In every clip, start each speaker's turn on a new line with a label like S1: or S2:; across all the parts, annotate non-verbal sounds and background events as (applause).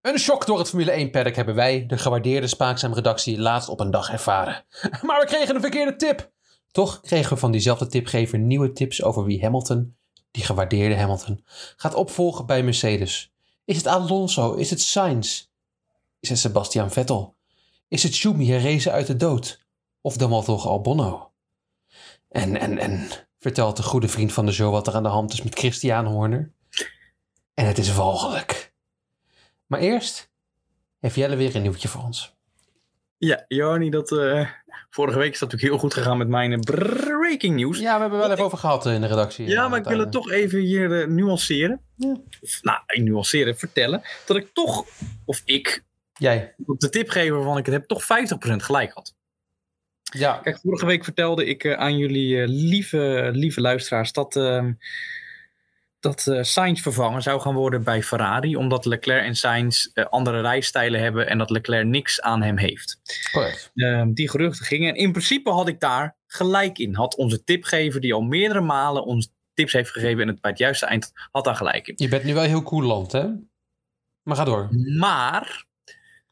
S1: Een shock door het Formule 1 paddock hebben wij, de gewaardeerde Spaakzaam redactie, laatst op een dag ervaren. (laughs) Maar we kregen een verkeerde tip. Toch kregen we van diezelfde tipgever nieuwe tips over wie Hamilton, die gewaardeerde Hamilton, gaat opvolgen bij Mercedes. Is het Alonso? Is het Sainz? Is het Sebastian Vettel? Is het Schumi herrezen uit de dood? Of dan wel toch Albonno? En, en, en vertelt de goede vriend van de show wat er aan de hand is met Christian Horner. En het is walgelijk. Maar eerst heeft Jelle weer een nieuwtje voor ons.
S2: Ja, Joni, dat, eh, vorige week is dat natuurlijk heel goed gegaan met mijn eh, breaking news. Ja,
S1: Ja, we hebben wel even over gehad eh, in de redactie.
S2: maar ik wil het toch even hier eh, nuanceren.
S1: Ja.
S2: Nou, ik nuanceren, vertellen. Dat ik toch, of ik,
S1: Jij.
S2: op de tipgever waarvan ik het heb, toch 50% gelijk had.
S1: Ja.
S2: Kijk, vorige week vertelde ik eh, aan jullie eh, lieve, lieve luisteraars dat, ehm dat eh, Sainz vervangen zou gaan worden bij Ferrari. Omdat Leclerc en Sainz eh, andere rijstijlen hebben en dat Leclerc niks aan hem heeft.
S1: Correct.
S2: Ehm, die geruchten gingen. En in principe had ik daar gelijk in. Had onze tipgever, die al meerdere malen ons tips heeft gegeven en het bij het juiste eind had, had daar gelijk in.
S1: Je bent nu wel heel cool land, hè? Maar ga door.
S2: Maar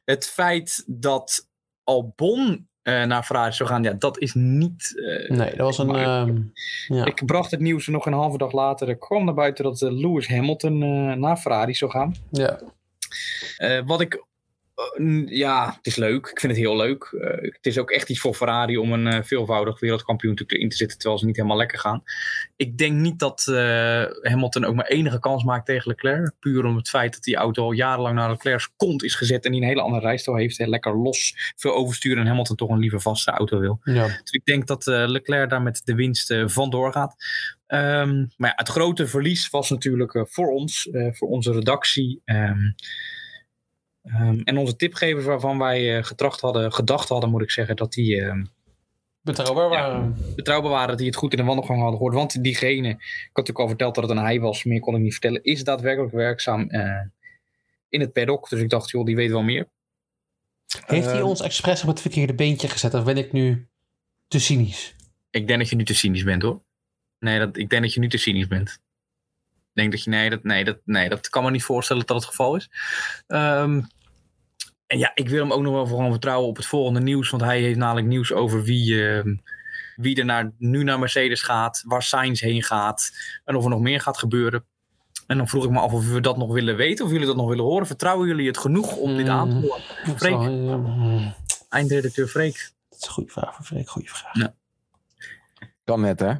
S2: het feit dat Albon eh, naar Ferrari zou gaan, ja, dat is niet. eh,
S1: Nee, dat was een...
S2: Maar-
S1: ehm, ja.
S2: Ik bracht het nieuws en nog een halve dag later. eh, kwam naar buiten dat eh, Lewis Hamilton eh, naar Ferrari zou gaan.
S1: ja.
S2: Eh, wat ik. eh, n- ja, het is leuk. Ik vind het heel leuk. Eh, het is ook echt iets voor Ferrari om een eh, veelvoudig wereldkampioen natuurlijk in te zitten. Terwijl ze niet helemaal lekker gaan. Ik denk niet dat eh, Hamilton ook maar enige kans maakt tegen Leclerc. Puur om het feit dat die auto al jarenlang naar Leclerc's kont is gezet. En die een hele andere rijstijl heeft. hè. Lekker los, veel oversturen. En Hamilton toch een liever vaste auto wil.
S1: ja.
S2: Dus ik denk dat eh, Leclerc daar met de winst eh, vandoor gaat. Ehm, maar ja, het grote verlies was natuurlijk eh, voor ons, eh, voor onze redactie. ehm, ehm, en onze tipgevers waarvan wij eh, getracht hadden, gedacht hadden, moet ik zeggen, dat die ehm,
S1: Betrouwbaar waren.
S2: betrouwbaar waren, dat die het goed in de wandelgang hadden gehoord. Want diegene, ik had natuurlijk al verteld dat het een hij was, meer kon ik niet vertellen, is daadwerkelijk werkzaam eh, in het paddock. Dus ik dacht, joh, die weet wel meer.
S1: Heeft hij
S2: Ehm,
S1: ons expres op het verkeerde beentje gezet? Of ben ik nu te cynisch?
S2: Ik denk dat je nu te cynisch bent hoor. Nee, dat, ik denk dat je nu te cynisch bent. Ik denk dat je. Nee, dat, nee, dat, nee, dat kan me niet voorstellen dat dat het geval is. Ehm, en ja, ik wil hem ook nog wel vooral vertrouwen op het volgende nieuws. Want hij heeft namelijk nieuws over wie, ehm, wie er naar, nu naar Mercedes gaat. Waar Sainz heen gaat. En of er nog meer gaat gebeuren. En dan vroeg ik me af of we dat nog willen weten. Of jullie dat nog willen horen. Vertrouwen jullie het genoeg om dit aan te
S1: Mm.
S2: horen?
S1: Dat is
S2: Freek.
S1: wel, ja, mm.
S2: Eindredacteur Freek.
S1: Dat is een goede vraag voor Freek. Goede vraag.
S3: Kan net, hè?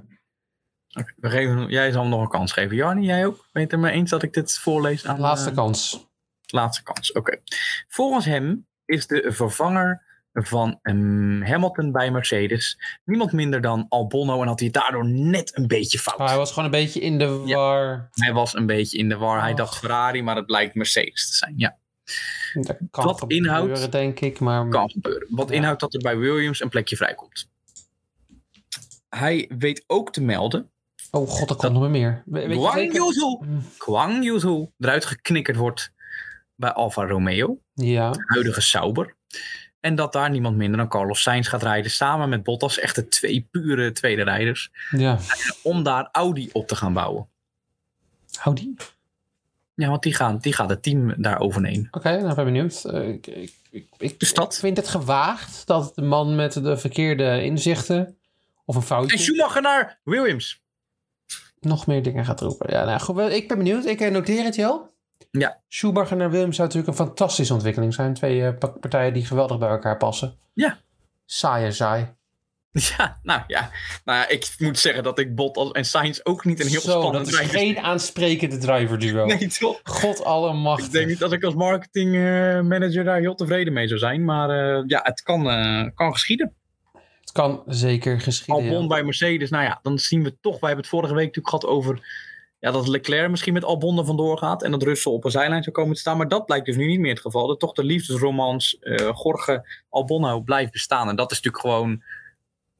S2: We geven, hem- jij zal hem nog een kans geven. Jarni, jij ook? Ben je het er mee eens dat ik dit voorlees? Aan,
S1: Laatste
S2: eh,
S1: kans.
S2: laatste kans. Oké. Volgens hem is de vervanger van ehm, Hamilton bij Mercedes niemand minder dan Albonno en had hij het daardoor net een beetje fout.
S1: Maar hij was gewoon een beetje in de
S2: Ja.
S1: war.
S2: Hij was een beetje in de war. Hij
S1: Oh.
S2: dacht Ferrari, maar het blijkt Mercedes te zijn. Ja,
S1: Dat kan
S2: Wat
S1: gebeuren,
S2: inhoudt-
S1: denk ik. Maar
S2: kan gebeuren. Wat
S1: Ja.
S2: inhoudt dat er bij Williams een plekje vrijkomt. Hij weet ook te melden.
S1: Oh god, er komt nog meer. We- Weet je
S2: Guang
S1: zeker?
S2: Yuzu,
S1: Mm,
S2: Guang Yuzu eruit geknikkerd wordt bij Alfa Romeo.
S1: Ja,
S2: huidige Sauber. En dat daar niemand minder dan Carlos Sainz gaat rijden. Samen met Bottas. Echt de twee pure tweede rijders.
S1: ja.
S2: Om daar Audi op te gaan bouwen.
S1: Hou die.
S2: Ja, want die, gaan, die gaat het team daar overnemen.
S1: Oké, nou ben ik benieuwd. Eh, ik, ik, ik, ik-
S2: Dus dat.
S1: ik vind het gewaagd dat de man met de verkeerde inzichten of een
S2: En
S1: foutje
S2: Schumacher naar Williams.
S1: nog meer dingen gaat roepen. Ja, nou goed, wel, ik ben benieuwd. Ik eh, noteer het, Jel.
S2: Ja.
S1: Schumacher naar Williams zou natuurlijk een fantastische ontwikkeling zijn. Twee eh, pa- partijen die geweldig bij elkaar passen.
S2: Ja.
S1: Saai en saai.
S2: (laughs) Ja, nou ja. Nou ja, ik moet zeggen dat ik Bottas en Sainz ook niet een heel
S1: Zo,
S2: spannend
S1: dat is
S2: rijder
S1: geen aansprekende driver duo.
S2: (laughs) Nee, toch?
S1: God
S2: Ik denk niet dat ik als marketingmanager manager daar heel tevreden mee zou zijn. Maar eh, ja, het kan, eh, kan geschieden.
S1: Het kan zeker geschieden. ja.
S2: Albon bij Mercedes. Nou ja, dan zien we toch. We hebben het vorige week natuurlijk gehad over. Ja, dat Leclerc misschien met Albon er vandoor gaat. En dat Russell op een zijlijn zou komen te staan. Maar dat blijkt dus nu niet meer het geval. Dat toch de liefdesromans eh Gorge Albonno blijft bestaan. En dat is natuurlijk gewoon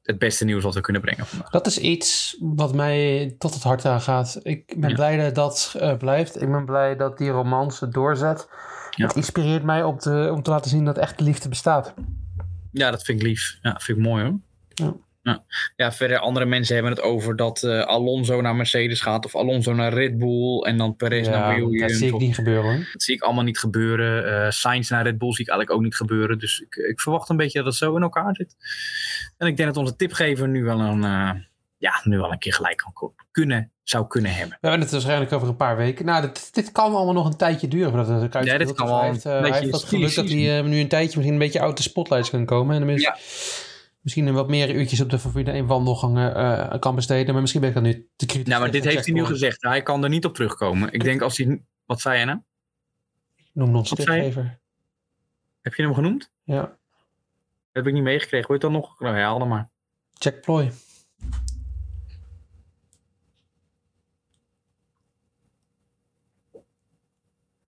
S2: het beste nieuws wat we kunnen brengen vandaag.
S1: Dat is iets wat mij tot het hart aangaat. Ik ben
S2: Ja.
S1: blij dat dat eh, blijft. Ik ben blij dat die romance doorzet.
S2: Ja.
S1: Het inspireert mij om te, om te laten zien dat echte liefde bestaat.
S2: Ja, dat vind ik lief. Ja, vind ik mooi hoor.
S1: Ja.
S2: Ja, verder andere mensen hebben het over dat eh, Alonso naar Mercedes gaat of Alonso naar Red Bull en dan Perez naar
S1: Ja, dat
S2: Williams.
S1: zie ik
S2: of-
S1: niet gebeuren hoor.
S2: Dat zie ik allemaal niet gebeuren. Eh Sainz naar Red Bull zie ik eigenlijk ook niet gebeuren. Dus ik, ik verwacht een beetje dat het zo in elkaar zit. En ik denk dat onze tipgever nu wel een, eh, ja, nu wel een keer gelijk kan ko- kunnen, zou kunnen hebben.
S1: We hebben het waarschijnlijk over een paar weken. Nou, dit, dit kan allemaal nog een tijdje duren. Voordat het eruit
S2: Ja, dit
S1: speelt.
S2: kan
S1: Dus
S2: wel
S1: hij
S2: een
S1: heeft, eh, hij
S2: beetje
S1: heeft dat
S2: een
S1: geluk dat hij eh, nu een tijdje misschien een beetje uit de spotlights kan komen. En tenminste, misschien een wat meer uurtjes op de Formule 1 wandelgangen eh, kan besteden. Maar misschien ben ik dat nu te kritisch.
S2: Nou, maar dit
S1: tegen
S2: heeft hij nu
S1: Jack Horner.
S2: gezegd. Hij kan er niet op terugkomen. Ik denk als hij... Wat zei jij nou?
S1: Noemde ons
S2: Wat zei je?
S1: tipgever.
S2: Heb je hem genoemd?
S1: Ja,
S2: Heb ik niet meegekregen. Hoor je dat nog? Nou, herhaal dan maar.
S1: Jack Ploy.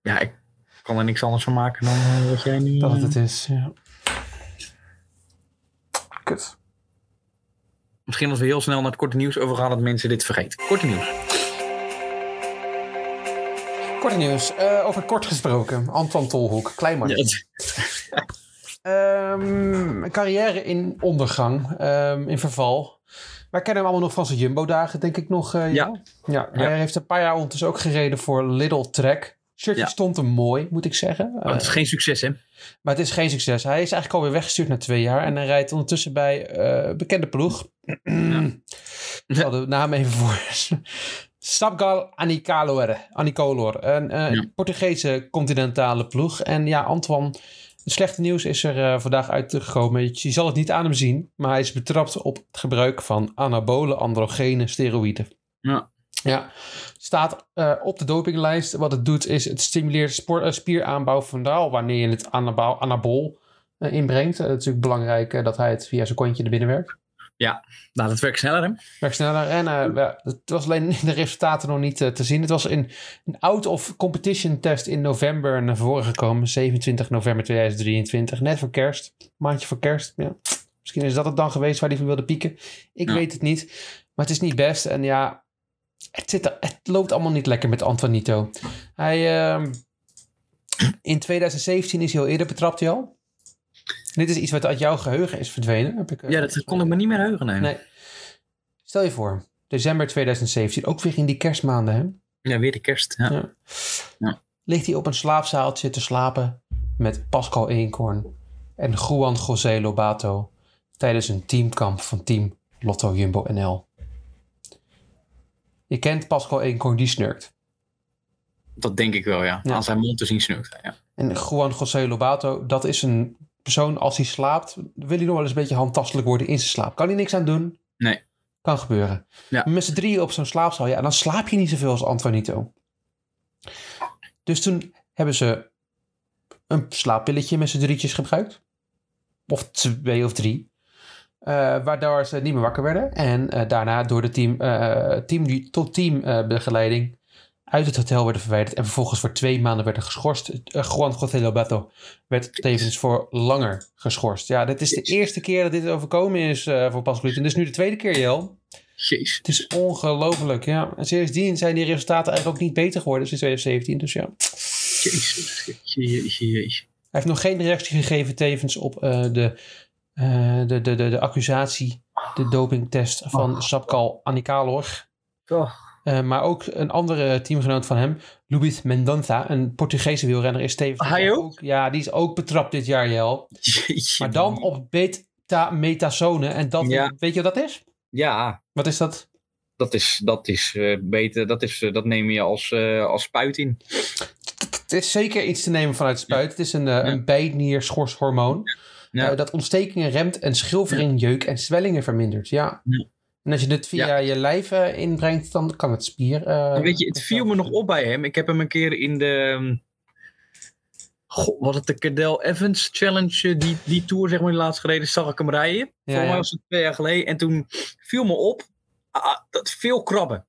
S2: Ja, ik kan er niks anders van maken dan eh, wat jij nu...
S1: Dat het
S2: eh,
S1: het is, ja. Kut.
S2: Misschien als we heel snel naar het korte nieuws overgaan dat mensen dit vergeten. Korte nieuws.
S1: Kort nieuws. Eh, over kort gesproken. Anton Tolhoek. Klein man. Ehm, een carrière in ondergang, ehm, in verval. Wij kennen hem allemaal nog van zijn Jumbo-dagen, denk ik nog. eh, Jelle? ja. Hij
S2: Ja.
S1: heeft een paar jaar ondertussen ook gereden voor Little Trek. Shirtje
S2: Ja.
S1: stond hem mooi, moet ik zeggen.
S2: Oh, het is geen succes, hè?
S1: Maar het is geen succes. Hij is eigenlijk alweer weggestuurd na twee jaar. En hij rijdt ondertussen bij eh, bekende ploeg. Ik (clears throat) zal de naam even voor. (laughs) Sapgal Anicolor. Anicolor. Een eh,
S2: Ja.
S1: Portugese continentale ploeg. En ja, Antoine, het slechte nieuws is er eh, vandaag uitgekomen. Je, je zal het niet aan hem zien. Maar hij is betrapt op het gebruik van anabole androgene steroïden.
S2: Ja.
S1: Ja, staat eh, op de dopinglijst. Wat het doet is het stimuleert spoor- eh, spieraanbouw vandaar wanneer je het anabol, anabol eh, inbrengt. Eh, het is natuurlijk belangrijk eh, dat hij het via zijn kontje naar binnen werkt.
S2: Nou, dat werkt sneller, hè?
S1: Werkt sneller en eh, ja, het was alleen (laughs) in de resultaten nog niet eh, te zien. Het was in een out-of-competition test in november naar voren gekomen. 27 november 2023, net voor kerst. Maandje voor kerst, ja. Misschien is dat het dan geweest waar hij van wilde pieken. Ik
S2: Ja.
S1: weet het niet. Maar het is niet best. En ja, het, zit er- het loopt allemaal niet lekker met Antonito. Hij, ehm, in 2017 is hij al eerder betrapt, hij al. Dit is iets wat uit jouw geheugen is verdwenen. Heb ik, eh,
S2: Ja, dat kon ik me niet meer heugen, nee.
S1: Nee. Stel je voor, december 2017, ook weer in die kerstmaanden, hè?
S2: Ja, weer de kerst. Ja.
S1: Ja.
S2: Ja.
S1: Ligt hij op een slaapzaaltje te slapen met Pascal Eenkorn en Juan José Lobato tijdens een teamkamp van team Lotto Jumbo NL. Je kent Pascal Eenkorn, die snurkt.
S2: Dat denk ik wel, ja.
S1: Ja.
S2: Als hij mond te zien snukt. Ja.
S1: En Juan José Lobato, dat is een persoon, als hij slaapt, wil hij nog wel eens een beetje handtastelijk worden in zijn slaap. Kan hij niks aan doen?
S2: Nee.
S1: Kan gebeuren.
S2: Ja.
S1: Met z'n drieën op zo'n slaapzaal, ja, dan slaap je niet zoveel als Antonito. Dus toen hebben ze een slaappilletje met z'n drietjes gebruikt. Of twee of drie. Eh, waardoor ze niet meer wakker werden. En eh, daarna door de team, eh, team, tot teambegeleiding uit het hotel werden verwijderd. En vervolgens voor twee maanden werden geschorst. Eh, Juan José Lobato werd tevens voor langer geschorst. Ja, dit is de eerste keer dat dit overkomen is eh, voor Pascal En dit is nu de tweede keer, Jel.
S2: Jeez.
S1: Het is ongelooflijk, ja. En sindsdien zijn die resultaten eigenlijk ook niet beter geworden sinds 2017. Dus ja, hij
S2: Jeez. Jeez. Jeez.
S1: heeft nog geen reactie gegeven tevens op eh, de, eh, de, de, de, de accusatie, de dopingtest van Sapkal Anikalor.
S2: Oh.
S1: Eh, maar ook een andere teamgenoot van hem, Luis Mendonça, een Portugese wielrenner, is tevens
S2: Hij ook?
S1: Ja, die is ook betrapt dit jaar, Jel.
S2: Jeetje,
S1: Maar dan
S2: man.
S1: op beta-metasone. En dat,
S2: Ja.
S1: weet je wat dat is?
S2: Ja,
S1: Wat is dat?
S2: dat is, dat is eh, beter. Dat, is, eh, dat neem je als, eh, als spuit in.
S1: Het is zeker iets te nemen vanuit spuit. Het is een, eh, een bijnierschorshormoon.
S2: Ja.
S1: Eh, dat ontstekingen remt en schilvering, jeuk en zwellingen vermindert. Ja.
S2: Ja.
S1: En als je dit via je lijf eh, inbrengt, dan kan het spier... eh,
S2: En Weet je, het viel me nog op bij hem. Ik heb hem een keer in de. ehm, Goh, was het de Cadel Evans Challenge? eh, Die, die tour, zeg maar, die laatst gereden, zag ik hem rijden.
S1: Ja,
S2: Volgens mij
S1: ja.
S2: was het twee jaar geleden. En toen viel me op. ah, dat veel krabben.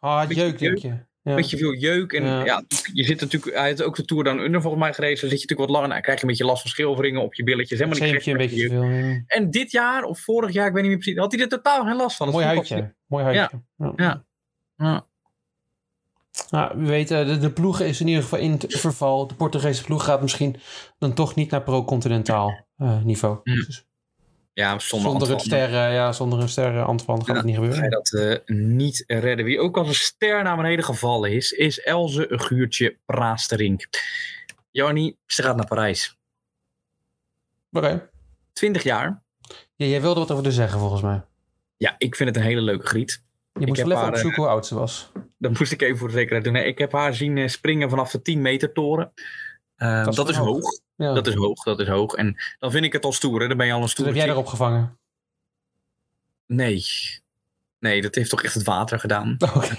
S1: Ah, het
S2: beetje
S1: jeuk, denk je. Ja.
S2: beetje veel jeuk. En
S1: Ja.
S2: ja. je zit natuurlijk, hij heeft ook de Tour dan Under volgens mij gereden. Dan zit je natuurlijk wat langer. Nou, krijg je een beetje last van schilveringen op je billetjes.
S1: Het
S2: Helemaal niet
S1: zeempje een
S2: gek.
S1: beetje te veel. ja.
S2: En dit jaar, of vorig jaar, ik weet niet meer precies, had hij er totaal geen last van. Dat
S1: Mooi
S2: vond ik wel-
S1: huidje. Mooi huidje. Ja.
S2: Ja. Ja.
S1: Nou, we weten, de, de ploeg is in ieder geval in het verval. De Portugese ploeg gaat misschien dan toch niet naar pro-continentaal eh, niveau.
S2: Mm.
S1: Dus
S2: Ja, zonder,
S1: Zonder, een
S2: Antoine.
S1: sterren, ja, zonder een sterren, Antoine, gaat
S2: Ja.
S1: het niet
S2: Ga
S1: gebeuren.
S2: je dat eh, niet redden. Wie ook als een ster naar beneden gevallen is, is Elze een guurtje Praasterink. Jannie, ze gaat naar Parijs.
S1: Oké.
S2: 20 jaar.
S1: Ja, jij wilde wat over te zeggen, volgens mij.
S2: Ja, ik vind het een hele leuke griet.
S1: Je moest
S2: heb
S1: wel even
S2: haar, eh,
S1: opzoeken hoe oud ze was.
S2: Dat moest ik even voor de zekerheid doen. Nee, ik heb haar zien eh, springen vanaf de 10 meter toren. Eh,
S1: Dat is
S2: dat, is
S1: hoog.
S2: hoog.
S1: Ja.
S2: Dat is hoog, dat is hoog. En dan vind ik het al stoer, hè. Dan ben je al een
S1: Toen
S2: stoer.
S1: Oh. Dus heb jij erop gevangen.
S2: Nee. Nee, dat heeft toch echt het water gedaan.
S1: (laughs) Oké.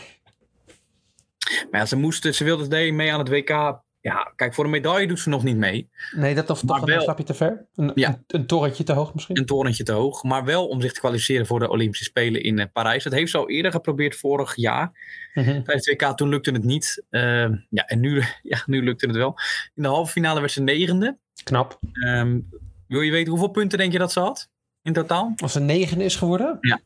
S2: Maar ja, ze, moest, ze wilde deel mee aan het WK. Ja, kijk, voor een medaille doet ze nog niet mee.
S1: Nee, dat of, toch
S2: Maar
S1: een
S2: wel-
S1: stapje te ver? Een,
S2: Ja.
S1: een, een torretje te hoog misschien?
S2: een torentje te hoog. Maar wel om zich te kwalificeren voor de Olympische Spelen in eh, Parijs. Dat heeft ze al eerder geprobeerd vorig jaar.
S1: Mhm.
S2: Tijdens het WK toen lukte het niet. Ehm, ja, en nu, (laughs) ja, nu lukte het wel. In de halve finale werd ze negende.
S1: Knap.
S2: Ehm, wil je weten hoeveel punten denk je dat ze had? In totaal?
S1: Als ze negen is geworden?
S2: Ja.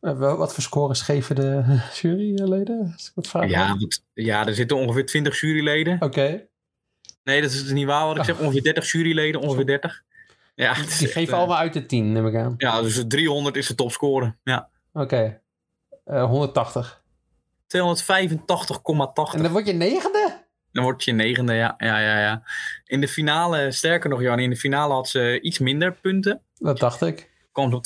S1: Eh, wel, wat voor scores geven de (laughs) juryleden? Als ik dat vraag.
S2: Ja, want- ja, er zitten ongeveer 20 juryleden.
S1: Oké.
S2: Nee, dat is dus niet waar wat ik zeg. Ongeveer 30 juryleden, ongeveer 30. Ja, het is
S1: Oh. Die
S2: echt,
S1: geven
S2: eh,
S1: allemaal uit de tien, neem ik aan.
S2: Ja, dus 300 is de topscore. Ja.
S1: Oké. Eh, 180.
S2: 285,80.
S1: En dan word je negende?
S2: Dan word je negende, ja. ja, ja, ja. In de finale, sterker nog, Jan, in de finale had ze iets minder punten.
S1: Dat dacht ik.
S2: Kwam ze op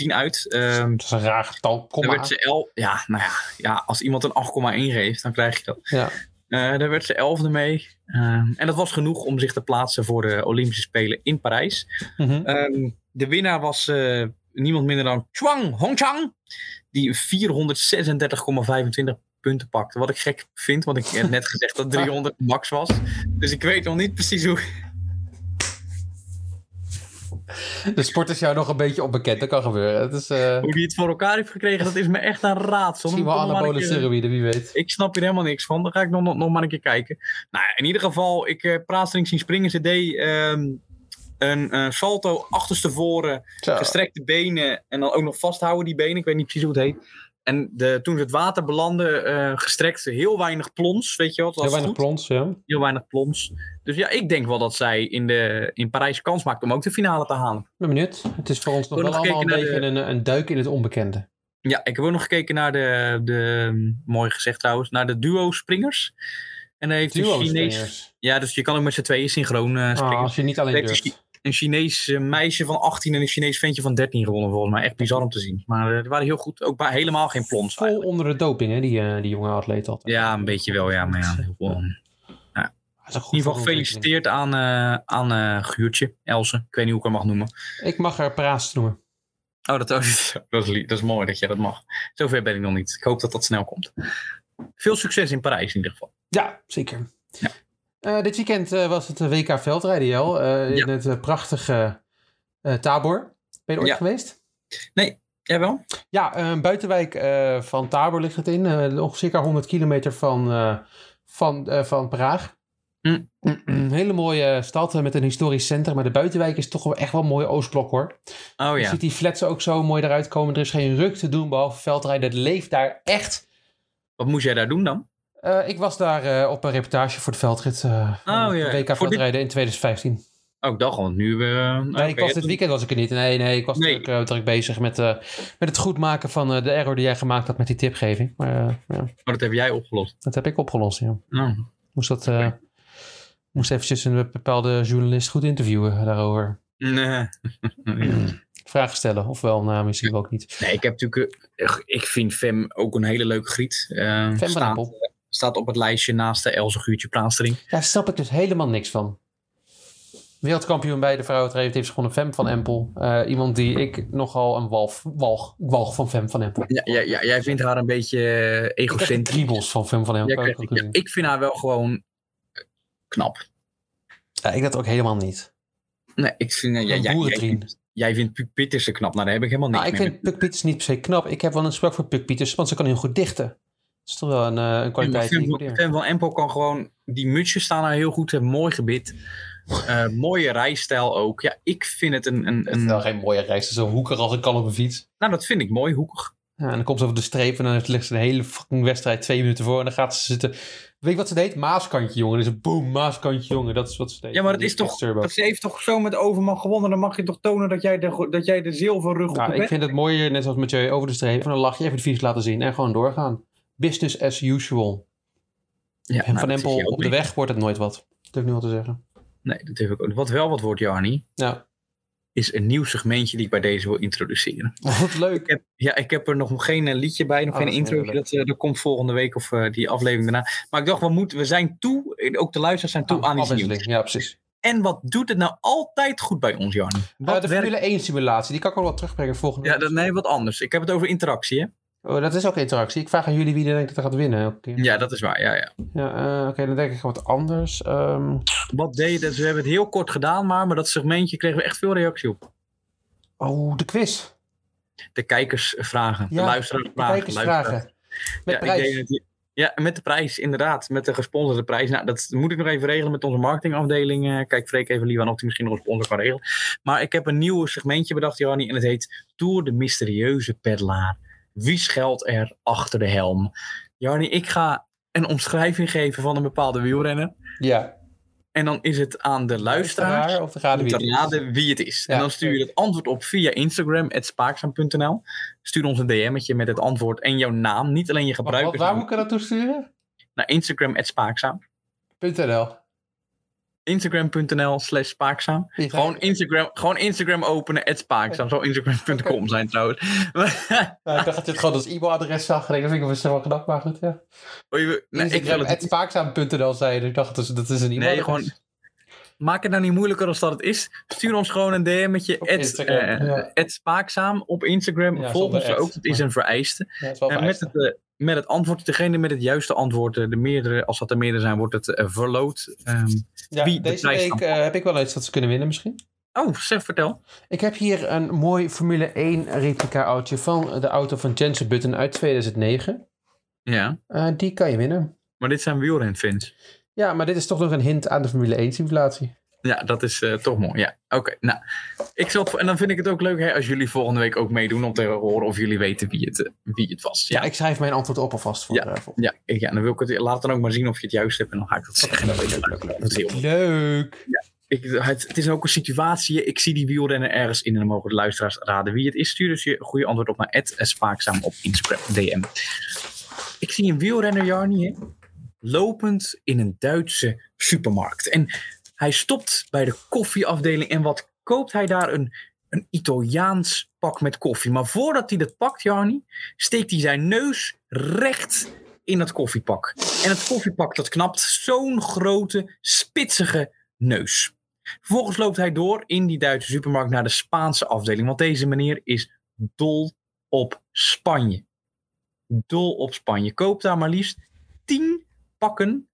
S2: 271,10 uit. Ehm,
S1: Dat is een raar getal. Kom
S2: dan werd
S1: maar.
S2: ze 11. Ja, nou ja, ja, als iemand een 8,1 geeft, dan krijg je dat.
S1: Ja.
S2: Eh, daar werd ze 11e mee. Ehm, en dat was genoeg om zich te plaatsen voor de Olympische Spelen in Parijs.
S1: Mhm.
S2: Ehm, de winnaar was eh, niemand minder dan Chuang Hongchang. Die 436,25 punten pakte. Wat ik gek vind, want ik heb net gezegd dat 300 max was. Dus ik weet nog niet precies hoe.
S1: De sport is jou nog een beetje onbekend. Dat kan gebeuren. Het is eh
S2: Hoe die het voor elkaar heeft gekregen, dat is me echt een raadsel.
S1: misschien wel
S2: Kom maar een
S1: anabole
S2: keer-
S1: steroïden, wie weet.
S2: Ik snap hier helemaal niks van. Dan ga ik nog, nog, nog maar een keer kijken. Nou, ja, in ieder geval, ik eh Praatstring zien springen. Ze deed ehm, een eh salto achterstevoren,
S1: Zo.
S2: gestrekte benen en dan ook nog vasthouden die benen. Ik weet niet precies hoe het heet. En de, toen ze het water belanden, eh, gestrekt, heel weinig plons, weet je wat?
S1: Heel weinig plons, ja.
S2: heel weinig plons. Dus ja, ik denk wel dat zij in, de, in Parijs kans maakt om ook de finale te halen.
S1: Ik ben benieuwd. Het is voor ons nog
S2: Wil
S1: wel
S2: nog
S1: allemaal een
S2: kijken naar
S1: beetje een, een duik in het onbekende.
S2: Ja, ik heb ook nog gekeken naar de, de mm, mooi gezegd trouwens, naar de duo springers. En daar heeft een Chinees.
S1: Duo-springers.
S2: Ja, dus je kan ook met z'n tweeën synchroon eh,
S1: Ah,
S2: springen.
S1: als je niet alleen
S2: Lekker schi-
S1: durft.
S2: Een Chinees eh, meisje van 18 en een Chinees ventje van 13 gewonnen volgens mij. Echt bizar om te zien. Maar eh die waren heel goed. Ook bij helemaal geen plons
S1: Vol
S2: eigenlijk.
S1: onder de doping, hè, die, eh, die jonge atleet altijd.
S2: Ja, een beetje wel. Ja, maar ja. heel veel. In
S1: Dat is een goed
S2: ieder geval
S1: voorbeeld.
S2: gefeliciteerd aan, eh aan eh, Guurtje, Else. Ik weet niet hoe ik haar mag noemen.
S1: Ik mag haar praat noemen.
S2: Oh, dat, (laughs) dat, is, dat, is, lief. dat is mooi dat jij dat mag. Zover ben ik nog niet. Ik hoop dat dat snel komt. Veel succes in Parijs in ieder geval.
S1: Ja, zeker. Eh, dit weekend eh, was het eh, WK veldrijden, Jel. eh, in
S2: Ja.
S1: het eh, prachtige eh, Tabor. Ben je er ooit
S2: Ja.
S1: geweest?
S2: Jij wel?
S1: Ja, eh, een buitenwijk eh, van Tabor ligt het in. eh ongeveer 100 kilometer van, eh, van, eh, van Praag.
S2: Hm.
S1: Een (clears throat) hele mooie stad eh, met een historisch centrum. Maar de buitenwijk is toch wel echt wel een mooi Oostblok, hoor.
S2: Oh
S1: Je
S2: ja.
S1: ziet die flats ook zo mooi eruit komen. Er is geen ruk te doen behalve veldrijden. Het leeft daar echt.
S2: Wat moest jij daar doen dan?
S1: Eh, ik was daar eh, op een reportage voor de veldrit. eh van
S2: Oh, ja.
S1: de WK
S2: Voor dit-
S1: veldrijden in 2015.
S2: Oh, ik dacht al. Nu... eh, oké,
S1: Nee, ik was dit weekend was ik er niet. Nee, nee, ik was
S2: Nee.
S1: druk, eh, druk bezig met, eh, met het goedmaken van eh, de error die jij gemaakt had met die tipgeving. Maar eh, ja,
S2: Oh, dat heb jij opgelost.
S1: dat heb ik opgelost. Ja.
S2: Oh,
S1: Moest dat. eh, moest eventjes een bepaalde journalist goed interviewen daarover.
S2: (laughs) Nee. Mm.
S1: Vragen stellen, ofwel, nou, misschien wel ook niet.
S2: nee, ik heb natuurlijk. eh, Ik vind Fem ook een hele leuke griet. Eh,
S1: Fem van
S2: staat,
S1: Empel.
S2: staat op het lijstje naast de Else Guurtje Praanstering.
S1: Daar snap ik dus helemaal niks van. Wereldkampioen bij de vrouwentreden heeft gewoon een Fem van Empel. Eh, iemand die ik nogal een walf, walg, walg van Fem van Empel.
S2: Ja, ja, ja, jij vindt haar een beetje eh,
S1: Ik krijg
S2: egocentrisch.
S1: kriebels van Fem van Empel.
S2: Jij krijgt-
S1: ook
S2: ja,
S1: gezien.
S2: ik vind haar wel gewoon eh, knap.
S1: Ja, ik dat ook helemaal niet.
S2: Nee, ik vind, eh,
S1: Een
S2: jij- jij- jij,
S1: boerentrien.
S2: vindt- jij vindt Puuk Pittersen knap. Nou, daar heb ik helemaal niks
S1: Nou, ik
S2: mee.
S1: vind Puk Pieters niet per se knap. Ik heb wel een sprak voor Puk Pieters, want ze kan heel goed dichten. Dat is toch wel een, eh, een
S2: Maar
S1: kwaliteit die
S2: Fem
S1: ik
S2: van-
S1: waardeer.
S2: Fem van Empel kan gewoon... Die mutsjes staan haar heel goed. Een mooi gebit. Eh, mooie rijstijl ook. Ja, ik vind het een... een,
S1: Het is
S2: een
S1: wel geen mooie reis. Zo hoeker als ik kan op een fiets.
S2: nou, dat vind ik mooi. Hoekig.
S1: Ja, en dan komt ze over de streep en dan heeft- ligt ze de hele fucking wedstrijd twee minuten voor. En dan gaat ze zitten. Weet je wat ze deed? Maaskantje, jongen. Dus een boom, maaskantje, jongen. Dat is wat ze deed.
S2: Ja, maar het
S1: Die
S2: is toch-
S1: Turbo.
S2: Dat ze heeft toch zo met overmacht gewonnen. Dan mag je toch tonen dat jij de, dat jij de zilverrug op
S1: Nou,
S2: hebt.
S1: ik vind het mooier, net zoals Mathieu, over de streep. Van een lachje, even de fiets laten zien en gewoon doorgaan. Business as usual.
S2: Ja,
S1: en
S2: nou,
S1: van
S2: dat is
S1: Empel,
S2: jouw
S1: op de
S2: brief.
S1: weg wordt het nooit wat. Dat durf ik nu al te zeggen.
S2: Nee, dat heb ik ook. Wat wel wat wordt, Jarni,
S1: Nou,
S2: is een nieuw segmentje die ik bij deze wil introduceren.
S1: (laughs) wat leuk.
S2: Ik heb, ja, ik heb er nog geen eh, liedje bij, nog
S1: Oh,
S2: geen
S1: dat is
S2: intro.
S1: heel leuk.
S2: Dat, eh, dat komt volgende week of eh, die aflevering daarna. Maar ik dacht, we, moeten, we zijn toe, eh, ook de luisteraars zijn toe
S1: Ah,
S2: aan iets
S1: afwisseling.
S2: nieuws.
S1: Ja, precies.
S2: En wat doet het nou altijd goed bij ons, Jarni?
S1: Eh,
S2: Wat
S1: de
S2: werkt-
S1: Formule 1 simulatie, die kan ik wel wat terugbrengen volgende
S2: Ja,
S1: week.
S2: dat, nee, wat anders. Ik heb het over interactie, hè?
S1: Oh, dat is ook interactie. Ik vraag aan jullie wie er denkt dat er gaat winnen. elke keer.
S2: Ja, dat is waar. Ja, ja.
S1: Ja, eh, Oké, dan denk ik wat anders. Ehm,
S2: Wat deed je? dat? We hebben het heel kort gedaan, maar, maar dat segmentje kregen we echt veel reactie op.
S1: oh, de quiz.
S2: De kijkers vragen,
S1: Ja,
S2: de luisteraars
S1: De
S2: vragen. luisteraars-
S1: kijkersvragen. Met
S2: ja, ik
S1: prijs.
S2: denk dat die- ja, met de prijs, inderdaad. Met de gesponsorde prijs. Nou, dat moet ik nog even regelen met onze marketingafdeling. Eh, kijk, Freek even liever aan of hij misschien nog een sponsor kan regelen. Maar ik heb een nieuw segmentje bedacht, Johanny. En het heet Door de mysterieuze peddelaar. Wie schuilt er achter de helm? Johanny, ik ga een omschrijving geven van een bepaalde wielrenner.
S1: Ja.
S2: En dan is het aan de luisteraar
S1: Of de gade
S2: om te
S1: wie.
S2: raden wie het is.
S1: Ja.
S2: En dan stuur je het antwoord op via Instagram, spaakzaam.nl. Stuur ons een DM'tje met het antwoord en jouw naam. Niet alleen je
S1: Wat, wat-
S2: gebruikersnaam
S1: waar moet ik er naartoe sturen?
S2: naar Instagram at Spaakzaam.
S1: .nl.
S2: Instagram.nl slash Spaakzaam.
S1: Je
S2: Gewoon
S1: gaat-
S2: Instagram, gewoon Instagram openen at Spaakzaam. Zou
S1: (laughs)
S2: Instagram.com zijn trouwens. Maar-
S1: Ja, ik dacht dat je het gewoon als e-mailadres zag. En ik dacht, ik was wel gedacht, maar goed, ja.
S2: Oei, we- nee, ik wil
S1: Instagram,
S2: het-
S1: het spaakzaam.nl zei je. dus Ik dacht, dat is, dat is een e-mailadres.
S2: Nee, gewoon- Maak het nou niet moeilijker dan dat het is. Stuur ons gewoon een DM'tje
S1: Op
S2: at,
S1: Instagram,
S2: eh,
S1: ja.
S2: at Spaakzaam op Instagram.
S1: Ja,
S2: Volg ons
S1: zonder
S2: ook,
S1: ad,
S2: dat is
S1: maar-
S2: een vereiste.
S1: Ja, het is wel
S2: En met
S1: vereist.
S2: het, eh, met het antwoord, degene met het juiste antwoord, eh, de meerdere, als dat er meerdere zijn, wordt het eh, verloot. Ehm,
S1: Ja,
S2: wie de
S1: deze
S2: prijs
S1: week
S2: dan?
S1: eh, heb ik wel iets dat ze kunnen winnen misschien.
S2: oh, zeg, vertel.
S1: Ik heb hier een mooi Formule 1 replica autootje van de auto van Jensen Button uit 2009.
S2: Ja,
S1: Eh, die kan je winnen.
S2: maar dit zijn wielrenfans.
S1: Ja, maar dit is toch nog een hint aan de Formule 1 simulatie.
S2: Ja, dat is eh, toch mooi. Ja, oké. Nou, ik zal het- en dan vind ik het ook leuk hè, als jullie volgende week ook meedoen om te horen of jullie weten wie het, eh, wie het was.
S1: Ja,
S2: Ja,
S1: ik schrijf mijn antwoord op alvast voor. eh, voor-
S2: ja, ik- ja dan wil ik het, laat het dan ook maar zien of je het juist hebt en dan ga ik dat zeggen. Dat weet ik leuk, leuk. Dat is heel-
S1: Leuk.
S2: ik, het, het is ook een situatie. Ik zie die wielrenner ergens in en dan mogen de luisteraars raden wie het is. Stuur dus je goede antwoord op naar spaakzaam op Instagram DM. Ik zie een wielrenner, Jarni, hè, lopend in een Duitse supermarkt. En hij stopt bij de koffieafdeling en wat koopt hij daar? Een, een Italiaans pak met koffie. Maar voordat hij dat pakt, Jarni, steekt hij zijn neus recht in dat koffiepak. En het koffiepak dat knapt zo'n grote, spitsige neus. Vervolgens loopt hij door in die Duitse supermarkt naar de Spaanse afdeling. Want deze meneer is dol op Spanje. Dol op Spanje. Koopt daar maar liefst 10 pakken.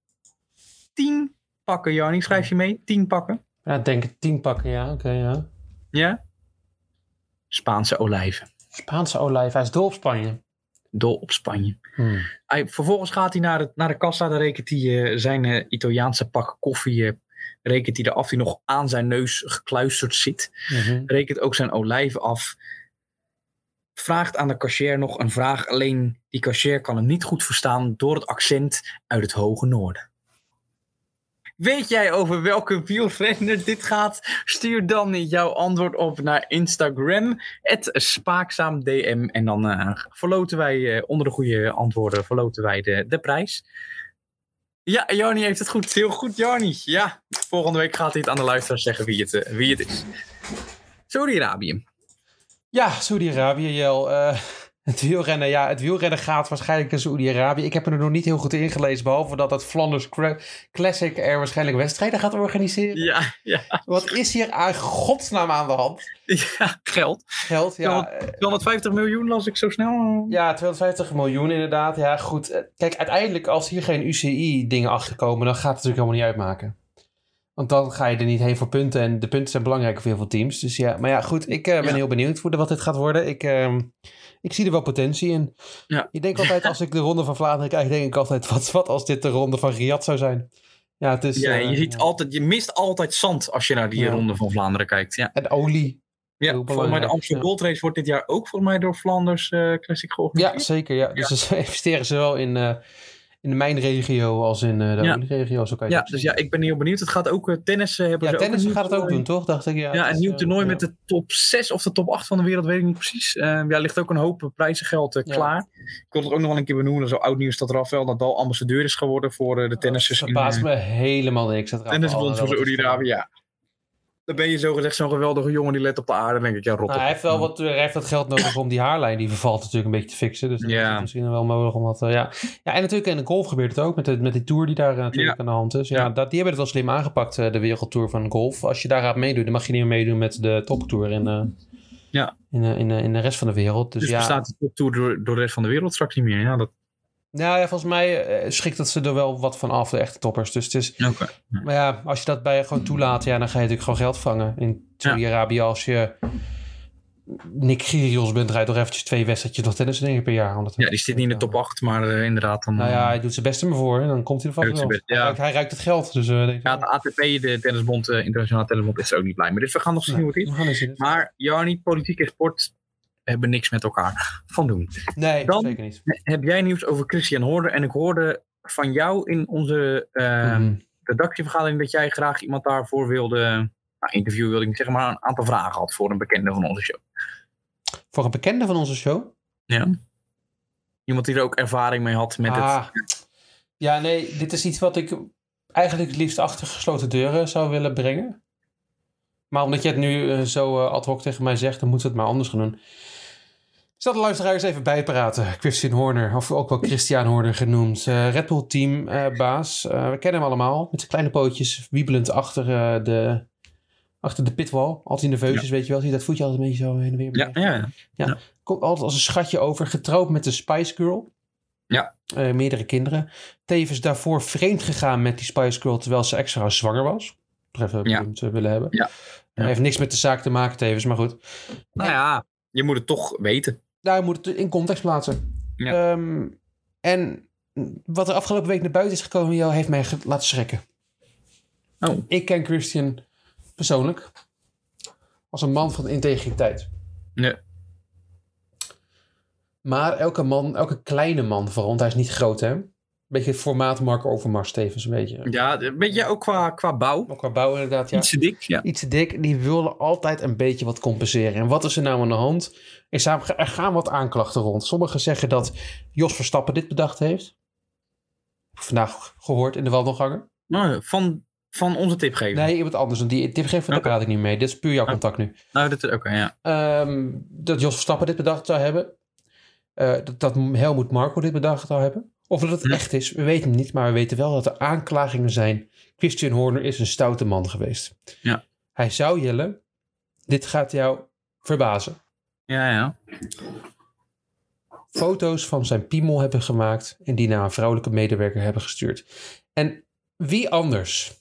S2: 10 pakken, Jarni. Schrijf je mee? 10 pakken.
S1: Ja, ik denk het tien pakken, ja. Oké, ja.
S2: Ja? Spaanse olijven.
S1: Spaanse olijf, hij is dol op Spanje.
S2: Dol op Spanje.
S1: Hmm.
S2: Hij, vervolgens gaat hij naar de, naar de kassa. Dan rekent hij eh, zijn eh, Italiaanse pak koffie. eh, rekent hij eraf die nog aan zijn neus gekluisterd zit.
S1: Mhm.
S2: rekent ook zijn olijven af. Vraagt aan de cashier nog een vraag. Alleen die cashier kan hem niet goed verstaan door het accent uit het hoge noorden. Weet jij over welke wielrenner dit gaat? Stuur dan jouw antwoord op naar Instagram. @spaakzaamdm En dan eh, verloten wij eh, onder de goede antwoorden verloten wij de, de prijs. Ja, Jarni heeft het goed. Heel goed, Jarni. Ja, volgende week gaat hij het aan de luisteraars zeggen wie het, eh, wie het is. Saudi-Arabië.
S1: Ja, Saudi-Arabië, Jel. Eh, (laughs) het wielrennen, ja, het wielrennen gaat waarschijnlijk naar Saudi-Arabië. Ik heb me er nog niet heel goed in gelezen, behalve dat dat Flanders Cra- Classic er waarschijnlijk wedstrijden gaat organiseren.
S2: Ja, ja,
S1: Wat is hier aan godsnaam aan de hand?
S2: ja. Geld.
S1: Geld, ja. eh,
S2: 250 miljoen las ik zo snel.
S1: Ja, 250 miljoen inderdaad. Ja, goed. Eh, Kijk, uiteindelijk als hier geen UCI-dingen achterkomen, dan gaat het natuurlijk helemaal niet uitmaken. Want dan ga je er niet heen voor punten. En de punten zijn belangrijk voor heel veel teams. Dus ja, maar ja, goed. Ik eh, ben
S2: Ja.
S1: heel benieuwd hoe de- wat dit gaat worden. Ik, ehm, ik zie er wel potentie in.
S2: Ja.
S1: Ik denk altijd, als ik de Ronde van Vlaanderen kijk, denk ik altijd, wat, wat als dit de Ronde van Riyadh zou zijn? Ja, het is...
S2: Ja,
S1: eh,
S2: je, ziet
S1: ja.
S2: Altijd, je mist altijd zand als je naar die
S1: Ja.
S2: ronde van Vlaanderen kijkt. Ja.
S1: En olie.
S2: Ja,
S1: Heel
S2: volgens mij de
S1: belangrijk,
S2: Amsterdam
S1: ja.
S2: Gold Race wordt dit jaar ook volgens mij door Flanders eh, Classic
S1: Ja,
S2: georganiseerd.
S1: zeker. Ja. Dus ze (laughs) investeren zowel in, eh, in de mijnregio als in eh, de
S2: Ja.
S1: olieregio. Zo kan je
S2: Ja,
S1: het ook
S2: dus
S1: zien.
S2: ja, ik ben heel benieuwd. Het gaat ook eh, tennis eh, hebben
S1: ja
S2: ze
S1: tennis
S2: ook een nieuw
S1: gaat het ook
S2: toernooi.
S1: doen, toch? Dacht ik, ja,
S2: Ja,
S1: het
S2: een
S1: is,
S2: nieuw
S1: eh,
S2: toernooi
S1: ja.
S2: met de top 6 of de top 8 van de wereld, weet ik niet precies. Eh, ja, er ligt ook een hoop eh, prijzengeld eh,
S1: Ja.
S2: klaar. Ik wil het ook nog wel een keer benoemen. Zo oud nieuws dat Rafael Nadal ambassadeur is geworden voor eh, de tennissers.
S1: Dat
S2: in,
S1: verbaast
S2: eh,
S1: me helemaal niks. eh, Dat
S2: Tennisbond
S1: voor
S2: van Saudi-Arabië, ja. Dan ben je zogezegd zo'n geweldige jongen die let op de aarde. Dan denk ik, ja, rot
S1: Nou,
S2: op.
S1: hij heeft wel wat, hij heeft dat geld nodig om die haarlijn die vervalt natuurlijk een beetje te fixen. Dus dat
S2: Ja.
S1: is het misschien wel mogelijk om dat, eh, ja. ja. En natuurlijk in de golf gebeurt het ook met, de, met die tour die daar eh, natuurlijk aan de hand is. Ja,
S2: Ja.
S1: Dat, die hebben het wel slim aangepakt, eh, de wereldtour van golf. Als je daar gaat meedoen, dan mag je niet meer meedoen met de toptour in, eh,
S2: Ja.
S1: in, eh, in, eh, in de rest van de wereld. Dus,
S2: Dus
S1: ja,
S2: bestaat de toptour door, door de rest van de wereld straks niet meer. Ja, dat...
S1: nou ja, volgens mij eh, schikt dat ze er wel wat van af, de echte toppers. Dus het is,
S2: Oké.
S1: Maar ja, als je dat bij gewoon toelaat, ja, dan ga je natuurlijk gewoon geld vangen. In Saudi-Arabië, als je Nick Kyrgios bent, draait toch eventjes twee wedstrijdjes nog tennis dingen per jaar. Omdat
S2: Ja, die zit niet in de top 8, maar eh, inderdaad. Dan,
S1: Nou ja,
S2: eh,
S1: hij doet zijn best er maar voor en dan komt hij er vast
S2: Hij
S1: wel.
S2: doet zijn best,
S1: Hij,
S2: ja.
S1: ruikt, hij ruikt het geld, dus eh, denk ik,
S2: ja, de ATP, de tennisbond, eh, internationale tennisbond, is er ook niet blij mee. Dus we gaan nog zien
S1: nou,
S2: hoe het is.
S1: we gaan eens in.
S2: Maar Jarni, politiek en sport hebben niks met elkaar van doen.
S1: Nee,
S2: dan-
S1: zeker niet.
S2: Heb jij nieuws over Christian Horder? En ik hoorde van jou in onze eh,
S1: Mhm.
S2: redactievergadering dat jij graag iemand daarvoor wilde. Nou, interview wilde ik niet zeggen, maar een aantal vragen had voor een bekende van onze show.
S1: Voor een bekende van onze show.
S2: Iemand die er ook ervaring mee had met het.
S1: Ah. Ja, nee, dit is iets wat ik eigenlijk het liefst achter gesloten deuren zou willen brengen. Maar omdat je het nu eh, zo eh, ad hoc tegen mij zegt, dan moeten we het maar anders gaan doen. Dus dat de luisteraars even bijpraten. Christian Horner, of ook wel Christian Horner genoemd. eh, Red Bull team eh, baas. Eh, we kennen hem allemaal. Met zijn kleine pootjes wiebelend achter, eh, de, achter de pitwal. Altijd in de veusjes, weet je wel. Zie je dat voetje altijd een beetje zo heen en weer.
S2: Ja, ja, ja.
S1: Komt altijd als een schatje over. Getrouwd met de Spice Girl.
S2: Ja.
S1: Eh, meerdere kinderen. Tevens daarvoor vreemd gegaan met die Spice Girl terwijl ze extra zwanger was. Nog even
S2: Ja.
S1: benoemd eh, willen hebben.
S2: Ja. Ja.
S1: Heeft niks met de zaak te maken tevens, maar goed.
S2: Nou ja, je moet het toch weten.
S1: Nou, je moet het in context plaatsen.
S2: Ja.
S1: Ehm, en wat er afgelopen week naar buiten is gekomen, joh, heeft mij ge- laten schrikken.
S2: Oh.
S1: Ik ken Christian persoonlijk als een man van integriteit.
S2: Nee.
S1: Maar elke man, elke kleine man vooral, want hij is niet groot hè. Beetje het formaat Mark Overmars tevens, een beetje.
S2: Ja, weet je ook qua, qua bouw?
S1: Ook qua bouw inderdaad, ja
S2: Iets te dik. Ja.
S1: iets te dik, die willen altijd een beetje wat compenseren. En wat is er nou aan de hand? Er zijn- Er gaan wat aanklachten rond. Sommigen zeggen dat Jos Verstappen dit bedacht heeft. Heb ik Vandaag gehoord in de wandelgangen.
S2: Nou, van, van onze tipgever.
S1: Nee, iemand anders. Want die tip geeft, daar
S2: Oké.
S1: praat ik niet mee. Dit is puur jouw
S2: Oké.
S1: contact nu.
S2: Nou, dat is oké, ja.
S1: Ehm, dat Jos Verstappen dit bedacht zou hebben. Eh, dat, dat Helmoet Marco dit bedacht zou hebben. Of dat het
S2: Ja.
S1: echt is, we weten het niet. Maar we weten wel dat er aanklagingen zijn. Christian Horner is een stoute man geweest.
S2: Ja.
S1: Hij zou Jelle, dit gaat jou verbazen.
S2: Ja, ja.
S1: foto's van zijn piemel hebben gemaakt en die naar een vrouwelijke medewerker hebben gestuurd. En wie anders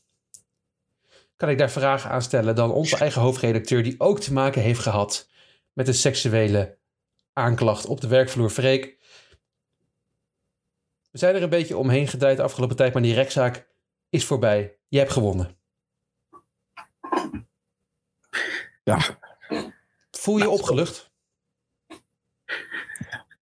S1: kan ik daar vragen aan stellen dan onze eigen hoofdredacteur die ook te maken heeft gehad met een seksuele aanklacht op de werkvloer Freek. We zijn er een beetje omheen gedraaid de afgelopen tijd, maar die rechtszaak is voorbij. Je hebt gewonnen.
S3: Ja.
S1: Voel je opgelucht?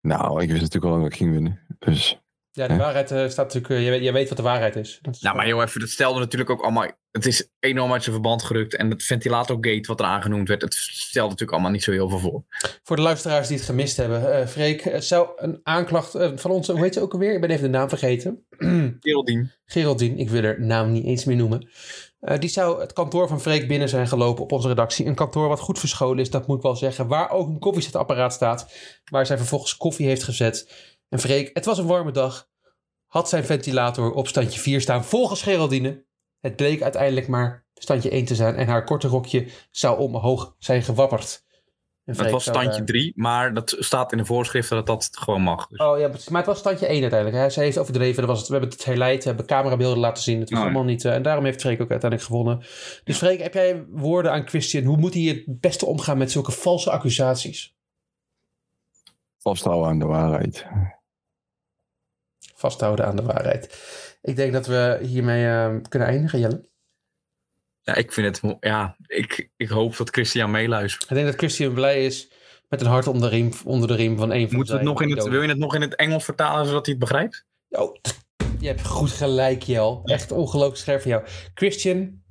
S3: Nou, ik wist natuurlijk al lang dat ik ging winnen. Dus
S1: Ja, de
S3: Hè?
S1: waarheid eh, staat natuurlijk. eh, je, weet, je weet wat de waarheid is. Dat is
S2: Nou, maar joh, even, dat stelde natuurlijk ook allemaal... Het is enorm uit zijn verband gerukt. En het ventilatorgate wat er aangenoemd werd... Het stelde natuurlijk allemaal niet zo heel veel voor.
S1: Voor de luisteraars die het gemist hebben, eh Freek, eh, zou een aanklacht eh, van onze, hoe heet ze ook alweer? Ik ben even de naam vergeten. (clears throat)
S2: Geraldine.
S1: Geraldine, ik wil haar naam niet eens meer noemen. Eh, die zou het kantoor van Freek binnen zijn gelopen op onze redactie. Een kantoor wat goed verscholen is, dat moet ik wel zeggen. Waar ook een koffiezetapparaat staat. Waar zij vervolgens koffie heeft gezet. En Freek, het was een warme dag. Had zijn ventilator op standje 4 staan volgens Geraldine. Het bleek uiteindelijk maar standje 1 te zijn. En haar korte rokje zou omhoog zijn gewapperd. En
S2: Dat
S1: Freek
S2: was
S1: zou
S2: standje
S1: daar-
S2: 3, maar dat staat in de voorschriften dat dat gewoon mag. Dus,
S1: Oh ja, precies. maar het was standje 1 uiteindelijk. Hij zei heeft overdreven. Dat was het. We hebben het herleid, we hebben camerabeelden laten zien. Het was
S2: Oh, ja.
S1: allemaal niet. eh, en daarom heeft Freek ook uiteindelijk gewonnen. Dus Freek, heb jij woorden aan Christian? Hoe moet hij het beste omgaan met zulke valse accusaties?
S3: vasthouden aan de waarheid.
S1: Vasthouden aan de waarheid. Ik denk dat we hiermee eh, kunnen eindigen, Jelle.
S2: Ja, ik vind het... mo- Ja, ik, ik hoop dat Christian meeluistert.
S1: Ik denk dat Christian blij is met een hart onder de riem, onder de riem van een van
S2: Moeten we
S1: zijn
S2: het nog in het,
S1: idolen.
S2: wil je het nog in het Engels vertalen, zodat hij het begrijpt?
S1: Oh, je hebt goed gelijk, Jel. Echt ongelooflijk scherp van jou. Christian,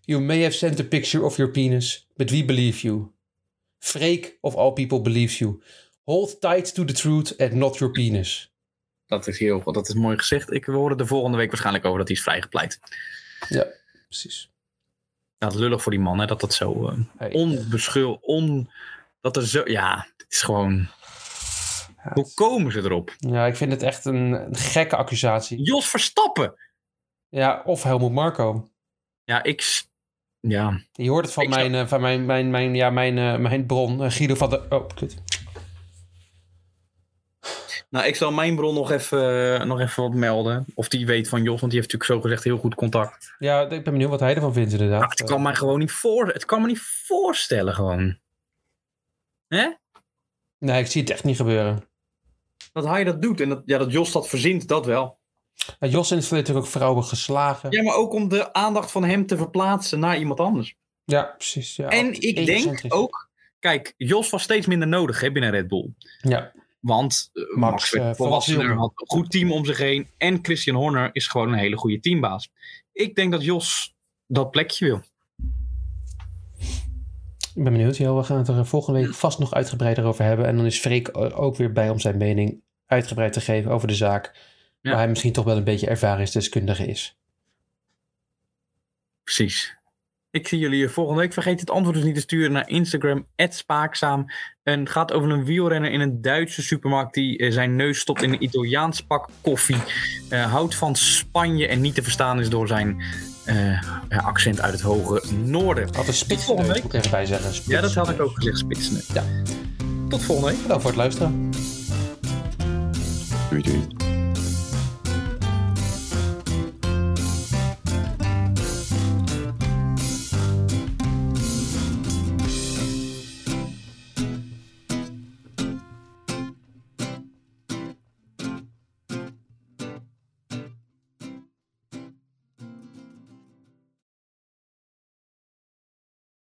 S1: you may have sent a picture of your penis, but we believe you. Freek of all people believes you. Hold tight to the truth and not your penis.
S2: Dat is heel goed. Dat is mooi gezegd. Ik we horen er volgende week waarschijnlijk over dat hij is vrijgepleit.
S1: Precies.
S2: Nou, dat is lullig voor die man, hè, dat dat zo eh
S1: Hey.
S2: onbeschul... On, dat er zo... Ja, het is gewoon... Hoe komen ze erop?
S1: Ja, ik vind het echt een, een gekke accusatie.
S2: Jos Verstappen!
S1: Ja, of Helmut Marco.
S2: Ja, ik... s- Ja,
S1: Je hoort het van,
S2: Ik zou-
S1: mijn, eh, van mijn, mijn, mijn, ja, mijn, eh, mijn bron, eh, Guido van de... Oh, kut.
S2: nou, ik zal mijn bron nog even, eh, nog even wat melden. Of die weet van Jos, want die heeft natuurlijk zogezegd heel goed contact.
S1: Ja, ik ben benieuwd wat hij ervan vindt
S2: Maar
S1: inderdaad.
S2: het kan mij gewoon niet voor... Het kan me niet voorstellen gewoon. Hè?
S1: Nee, ik zie het echt niet gebeuren.
S2: Dat hij dat doet en dat, ja, dat Jos dat verzint, dat wel.
S1: Nou, Jos in het verleden natuurlijk ook vrouwen geslagen.
S2: Ja, maar ook om de aandacht van hem te verplaatsen naar iemand anders.
S1: Ja, precies. Ja,
S2: En
S1: Altijd
S2: ik denk
S1: egocentrisch.
S2: ook, kijk, Jos was steeds minder nodig hè, binnen Red Bull.
S1: Ja,
S2: Want eh, Max,
S1: Max,
S2: werd
S1: eh, volwassen
S2: volwassener,
S1: jongen.
S2: had een goed team om zich heen. En Christian Horner is gewoon een hele goede teambaas. Ik denk dat Jos dat plekje wil.
S1: ik ben benieuwd. Jo, we gaan het er eh, volgende week vast nog uitgebreider over hebben. En dan is Freek er ook weer bij om zijn mening uitgebreid te geven over de zaak.
S2: Ja.
S1: Waar hij misschien toch wel een beetje ervaringsdeskundige is.
S2: Precies. Ik zie jullie hier volgende week. Vergeet het antwoord dus niet te sturen naar Instagram, spaakzaam. En het gaat over een wielrenner in een Duitse supermarkt die eh, zijn neus stopt in een Italiaans pak koffie. Eh, houdt van Spanje en niet te verstaan is door zijn eh, accent uit het hoge noorden.
S1: Had een spits
S2: Volgende
S1: moet
S2: week.
S1: ik er even bij zeggen. Spits.
S2: Ja, dat had ik ook gezegd, spitsen.
S1: Ja.
S2: Tot volgende week.
S1: Bedankt voor het luisteren.
S3: Doei doei.